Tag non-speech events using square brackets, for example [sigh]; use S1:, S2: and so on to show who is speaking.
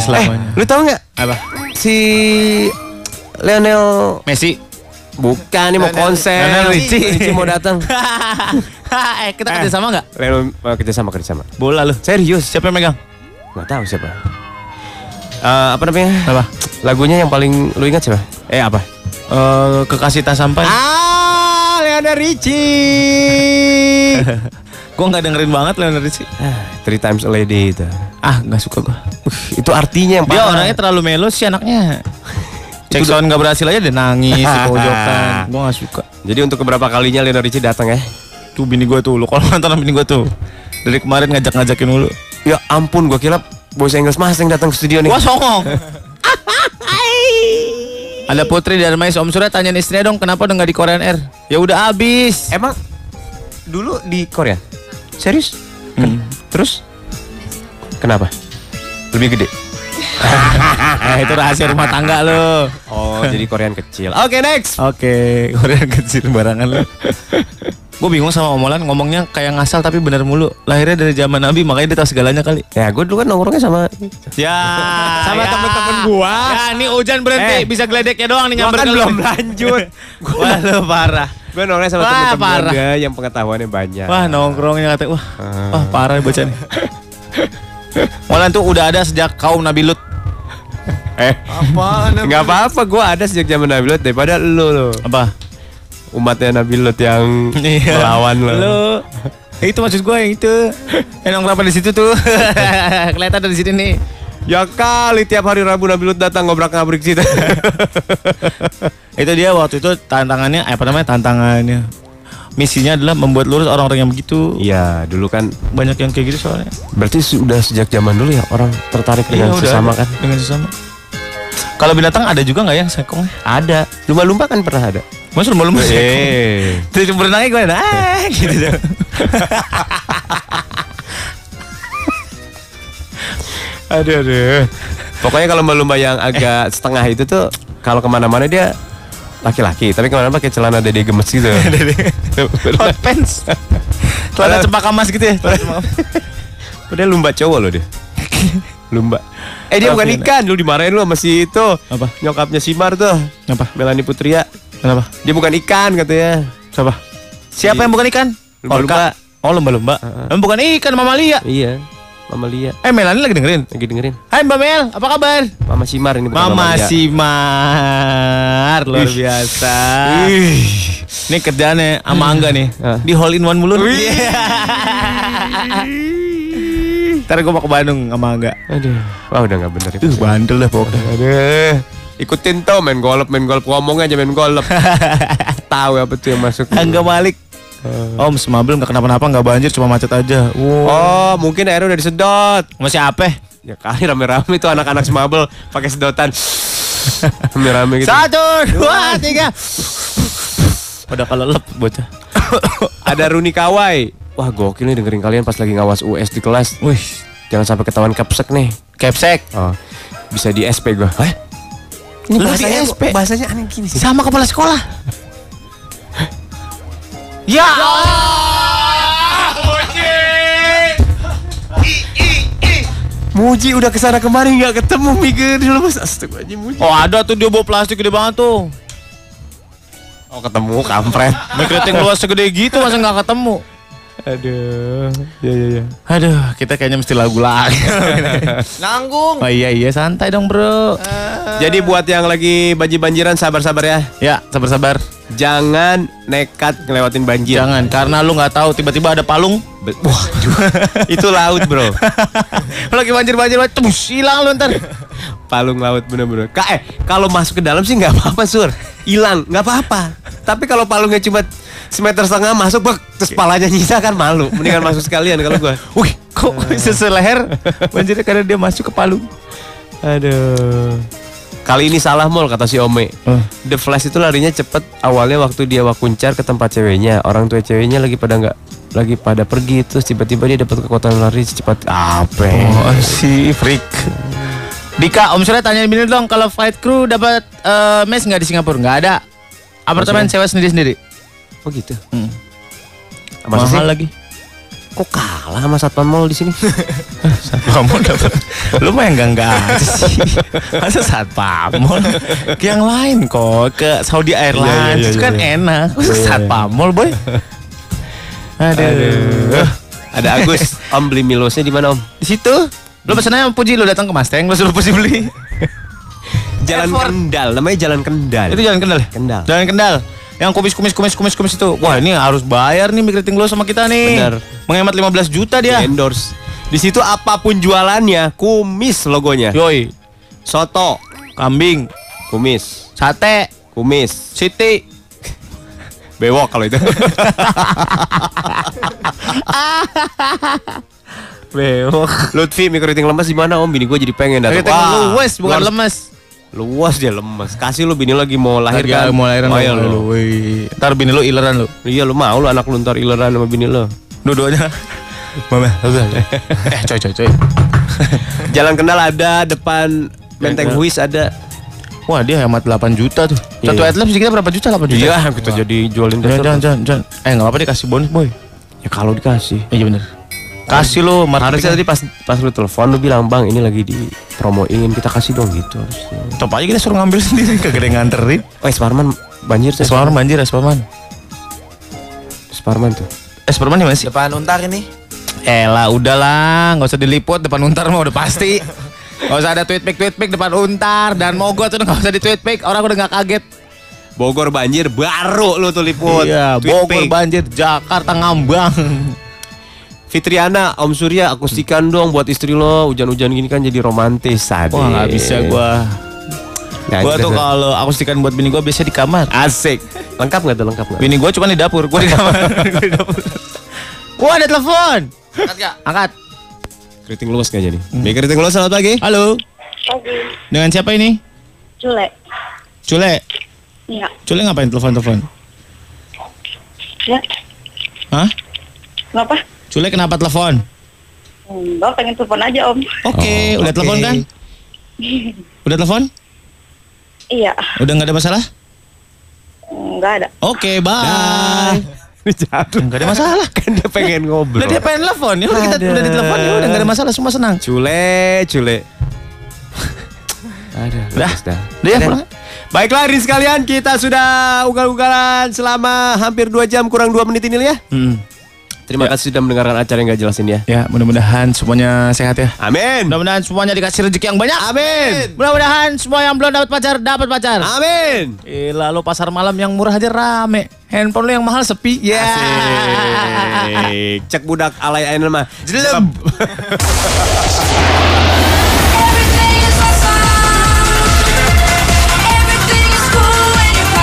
S1: selamanya.
S2: Eh, lu tau nggak
S1: Apa?
S2: si Lionel
S1: Messi.
S2: bukan ini mau
S1: Lionel-
S2: konser
S1: Lionel Richie.
S2: Richie mau datang
S1: [laughs] eh, kita kerja sama nggak?
S2: [laughs] Lionel mau kerja sama kerja sama
S1: Bola lu. Serius, siapa yang megang?
S2: nggak tahu siapa Eh, apa namanya
S1: Apa?
S2: lagunya yang paling lu ingat siapa eh apa
S1: Eh, kekasih tak sampai.
S2: ah Lionel Richie
S1: [laughs] Gua nggak dengerin banget Lionel Richie.
S2: Ah, Three times a lady itu
S1: Ah, nggak suka gua.
S2: itu artinya yang
S1: Dia orangnya terlalu melo sih [laughs] anaknya. Cek sound nggak berhasil aja dia nangis [laughs] di pojokan. Gua nggak suka.
S2: jadi untuk keberapa kalinya Lionel Richie datang ya
S1: Tuh bini gua tuh, lu kalau nonton sama bini gua tuh. Dari kemarin ngajak-ngajakin mulu.
S2: ya ampun gua kira Boys English Mas yang datang ke studio nih
S1: Wah songong. Ada Putri dari Armais Om Surya tanyain istrinya dong kenapa udah nggak di Korean Air? Ya udah abis.
S2: Emang dulu di Korea? Serius?
S1: Hmm.
S2: Ken- Terus? Kenapa? Lebih gede.
S1: Eh, [laughs] itu rahasia rumah tangga lo.
S2: [laughs] Oh, jadi Korean kecil. Oke, next.
S1: Oke, Korean kecil barangan lo. Gue bingung sama omolan ngomongnya kayak ngasal tapi bener mulu. Lahirnya dari zaman Nabi makanya dia tahu segalanya kali.
S2: Ya, gue dulu kan nongkrongnya sama
S1: Ya.
S2: Sama temen-temen gua.
S1: Ya, ini hujan berhenti,
S2: Eh.
S1: bisa geledeknya doang nih
S2: Gua
S1: nyamber
S2: kan
S1: kali. [laughs]
S2: belum lanjut. Gua-
S1: Wah, lo parah.
S2: Gue nongkrongnya sama
S1: Wah,
S2: temen-temen
S1: parah.
S2: gue yang pengetahuannya banyak.
S1: Wah nongkrongnya kata wah
S2: Ah.
S1: wah parah nih bocah nih. Molan tuh udah ada sejak kaum Nabi Lut.
S2: Eh, [laughs]
S3: Apaan?
S2: nggak apa-apa. Gue ada sejak zaman Nabi Lot daripada lo lo.
S1: Apa?
S2: Umatnya Nabi Lot [laughs] yang
S1: Iya.
S2: melawan lo.
S1: Lu itu maksud gue yang itu. Eh nongkrong apa di situ
S2: [laughs]
S1: tuh. Kelihatan dari sini nih.
S2: Ya kali tiap hari Rabu Nabi Lot datang ngobrak-ngabrik situ.
S1: Itu dia waktu itu tantangannya eh, apa namanya tantangannya. Misinya adalah membuat lurus orang-orang yang begitu.
S2: [laughs] Iya, dulu kan
S1: Banyak yang kayak gitu soalnya.
S2: Berarti sudah sejak zaman dulu ya orang tertarik dengan
S1: Iya, udah
S2: sesama
S1: ada.
S2: kan?
S1: Dengan sesama. Kalau binatang ada juga nggak ya sekong?
S2: Ada. Lumba-lumba kan pernah ada.
S1: Mas lu belum sekong.
S2: [laughs] Eh.
S1: Terus berenangnya gue ada
S2: [laughs]
S1: ah, gitu tuh.
S2: Aduh, aduh. Pokoknya kalau lumba-lumba yang
S1: Eh.
S2: agak setengah itu tuh kalau kemana-mana dia laki-laki, tapi kemana-mana pakai celana dede gemes
S1: [laughs]
S2: gitu.
S1: Hot pants. Celana cempaka emas gitu ya. celana cempaka emas.
S2: Padahal lumba cowok loh dia. Lumba. Eh dia bukan
S1: Tapi-
S2: ikan, lu dimarahin lu sama si itu.
S1: Apa?
S2: Nyokapnya Simar tuh,
S1: Apa?
S2: Melani Putria.
S1: Kenapa?
S2: Dia bukan ikan katanya.
S1: Siapa? Siapa yang bukan ikan?
S2: Lumba-lumba.
S1: Orca. Oh lumba-lumba. Emang bukan ikan mamalia.
S2: Iya. Mama Lia
S1: Eh Melani lagi dengerin.
S2: lagi dengerin.
S1: Hai Mbak Mel, apa kabar?
S2: Mama Simar ini bukan
S1: Mama
S2: Lia.
S1: Simar luar
S2: Ih.
S1: biasa.
S2: Ih.
S1: Ini kerjaannya sama Angga nih.
S2: Ah.
S1: Di hall in one mulu. Ntar gue mau ke Bandung sama Angga.
S2: Aduh, wah udah nggak bener. itu.
S1: bandel dah pokoknya.
S2: Aduh, ikutin tuh main golop, main golop, ngomong aja main golop. [laughs] Tahu apa tuh yang masuk?
S1: Angga Malik. Om semabel nggak kenapa-napa nggak banjir cuma macet aja. Wow.
S2: Oh, mungkin airnya udah disedot.
S1: Masih apa?
S2: Ya kali rame-rame tuh anak-anak semabel pakai sedotan. rame-rame gitu.
S1: Satu, dua, tiga. Udah kalau lep bocah.
S2: Ada Runi Kawai. Wah gokil nih dengerin kalian pas lagi ngawas US di kelas.
S1: [coughs] Wih,
S2: Jangan sampai ketahuan kapsek nih.
S1: kepsek.
S2: Oh, bisa di SP gua. Hah?
S1: Ini bahasanya,
S2: bahasanya aneh gini sih.
S1: sama kepala sekolah. ya.
S2: Muji udah kesana kemari nggak ketemu mikir di lepas. Astagfirullahaladzim Muji.
S1: Oh ada tuh dia bawa plastik gede banget tuh.
S2: Oh ketemu kampret.
S1: Mikriting luas segede gitu masa nggak ketemu.
S2: Aduh, ya ya ya.
S1: Aduh, kita kayaknya mesti lagu [laughs] lagi.
S3: Nanggung.
S1: oh iya iya santai dong bro.
S2: Jadi buat yang lagi banjir-banjiran sabar-sabar ya.
S1: Ya sabar-sabar.
S2: Jangan nekat ngelewatin banjir.
S1: Jangan karena lu nggak tahu tiba-tiba ada palung.
S2: Be- Wah, aduh. [laughs] itu laut, Bro.
S1: Lu [laughs] lagi banjir-banjir, tebus hilang lu ntar.
S2: [laughs]
S1: [laughs]
S2: Palung laut bener-bener. Ka eh, kalau masuk ke dalam sih nggak apa-apa, Sur. Hilang, nggak apa-apa. Tapi kalau palungnya cuma semeter setengah masuk, bek, terus palanya nyisa kan malu. Mendingan masuk sekalian kalau gua.
S1: Wih, kok seseleher banjirnya karena dia masuk ke palung.
S2: Aduh. Kali ini salah mall kata si Ome.
S1: Eh.
S2: The Flash itu larinya cepet awalnya waktu dia wakuncar ke tempat ceweknya. Orang tua ceweknya lagi pada nggak lagi pada pergi terus tiba-tiba dia dapat kekuatan lari secepat apa?
S1: Oh, si freak. Dika, Om Surya tanya bini dong kalau flight crew dapat eh, mes nggak di Singapura? Nggak ada. Apartemen sewa sendiri-sendiri.
S2: Oh gitu.
S1: Hmm.
S2: Masa sih?
S1: Mahal lagi.
S2: Kok kalah sama Satpam Mall
S1: [laughs]
S2: di sini?
S1: Satpamol dapat. Lu mah yang enggak aja [laughs] sih. Masa Satpamol? Ke yang lain kok, ke Saudi Airlines
S2: iya,
S1: itu
S2: iya,
S1: kan
S2: iya.
S1: enak. Masa Satpamol, boy? Aduh. Eh,
S2: Eh, Ada Agus. Om beli Milosnya di mana Om?
S1: Di situ lu pesennya sama Puji lu datang ke Mustang lu suruh Puji beli.
S2: Jalan
S1: Effort.
S2: Kendal. Namanya Jalan Kendal.
S1: itu jalan Kendal. ya?
S2: Kendal.
S1: Jalan Kendal. Yang kumis kumis kumis kumis kumis itu. Wah, ini harus bayar nih migrating lu sama kita nih.
S2: Benar.
S1: Menghemat 15 juta
S2: Di
S1: dia.
S2: endorse. Di situ apapun jualannya, kumis logonya.
S1: Yoi,
S2: Soto,
S1: kambing,
S2: kumis,
S1: sate,
S2: kumis,
S1: Siti.
S2: bewok kalau itu. Oh.
S1: Bewok.
S2: Lutfi mikro rating lemas di mana Om? Bini gue jadi pengen datang.
S1: Keriting
S2: Wah,
S1: luwes bukan
S2: luar-
S1: lemes.
S2: Luas dia lemas. Kasih lu bini lagi mau lahir
S1: Lagi
S2: kan?
S1: mau lahiran
S2: Oh, iya,
S1: lu.
S2: lu.
S1: Wih. Ntar bini lu ileran lu.
S2: Iya lu mau lu anak lu ntar ileran sama bini lu.
S1: [laughs] Dua-duanya. Mama, udah. eh, coy coy coy.
S2: Jalan Kendal ada, depan Menteng
S1: Kendal.
S2: Huis ada.
S1: Wah, dia hemat 8 juta tuh. Satu
S2: Iya.
S1: adlibs kita berapa juta? 8 juta.
S2: Iya, kita jadi jualin
S1: Jangan,
S2: dasar.
S1: jangan, jangan, jangan. Eh, enggak apa-apa dikasih bonus, boy.
S2: Ya kalau dikasih.
S1: Iya bener. Kasih lu
S2: Harusnya
S1: marketing.
S2: tadi pas pas lu telepon lu bilang bang ini lagi di promoin kita kasih dong gitu harusnya.
S1: Top aja kita suruh ngambil [laughs] sendiri kagak ada yang nganterin.
S2: Oh Sparman banjir tuh.
S1: Esparman Eh, banjir, Esparman.
S2: Sparman tuh.
S1: Esparman di mana sih?
S3: Depan untar ini.
S1: Elah, udahlah, nggak usah diliput depan untar mah udah pasti. Gak usah ada tweet pic tweet pic depan untar dan mogot tuh nggak usah di tweet pic orang udah nggak kaget.
S2: Bogor banjir baru lu tuh liput.
S1: iya,
S2: Tweet
S1: Bogor
S2: pic.
S1: banjir, Jakarta ngambang.
S2: Fitriana, Om Surya akustikan dong buat istri lo. Hujan-hujan gini kan jadi romantis tadi.
S1: Wah nggak bisa gua.
S2: Nah,
S1: Iya. Gua
S2: gitu
S1: tuh kalau akustikan buat bini gua biasa di kamar.
S2: Asik. Lengkap nggak tuh lengkap nggak?
S1: Bini gua cuma di dapur, gua di kamar.
S2: [laughs]
S1: Gua di dapur. Wah ada telepon.
S3: Angkat gak?
S1: Angkat.
S2: Keriting luas nggak jadi? Hmm. keriting luas selamat pagi.
S1: Halo.
S4: Pagi,
S1: Dengan siapa ini?
S4: Jule.
S1: Cule.
S4: Iya.
S1: Cule ngapain telepon-telepon?
S4: Ya,
S1: Hah?
S4: kenapa?
S1: Cule kenapa telepon?
S4: Enggak, Hmm, pengen telepon aja, Om.
S1: Oke, udah
S2: Oh, oke.
S1: telepon kan? Udah telepon?
S4: Iya,
S1: Udah nggak ada masalah?
S4: enggak ada.
S1: Oke, bye.
S2: Jatuh.
S1: Nggak ada masalah.
S2: Ah, Kan dia pengen
S1: Udah
S2: ngobrol.
S1: dia pengen telepon, ya udah kita
S2: Ada.
S1: udah ditelepon, ya udah nggak ada masalah, semua senang.
S2: Cule, cule. Ada.
S1: Dah.
S2: bagus dah.
S1: Udah ya, pulang.
S2: Baiklah Rin sekalian kita sudah ugal-ugalan selama hampir 2 jam kurang 2 menit ini ya.
S1: Hmm.
S2: Terima kasih sudah mendengarkan acara yang gak jelas ini ya.
S1: Ya, mudah-mudahan semuanya sehat ya.
S2: Amin.
S1: Mudah-mudahan semuanya dikasih rezeki yang banyak.
S2: Amin.
S1: Mudah-mudahan semua yang belum dapat pacar dapat pacar.
S2: Amin.
S1: Gila lu Eh, pasar malam yang murah aja rame. Handphone lu yang mahal sepi. Ya. [laughs]
S2: Asik. Cek budak alay ayeuna mah. Jelem.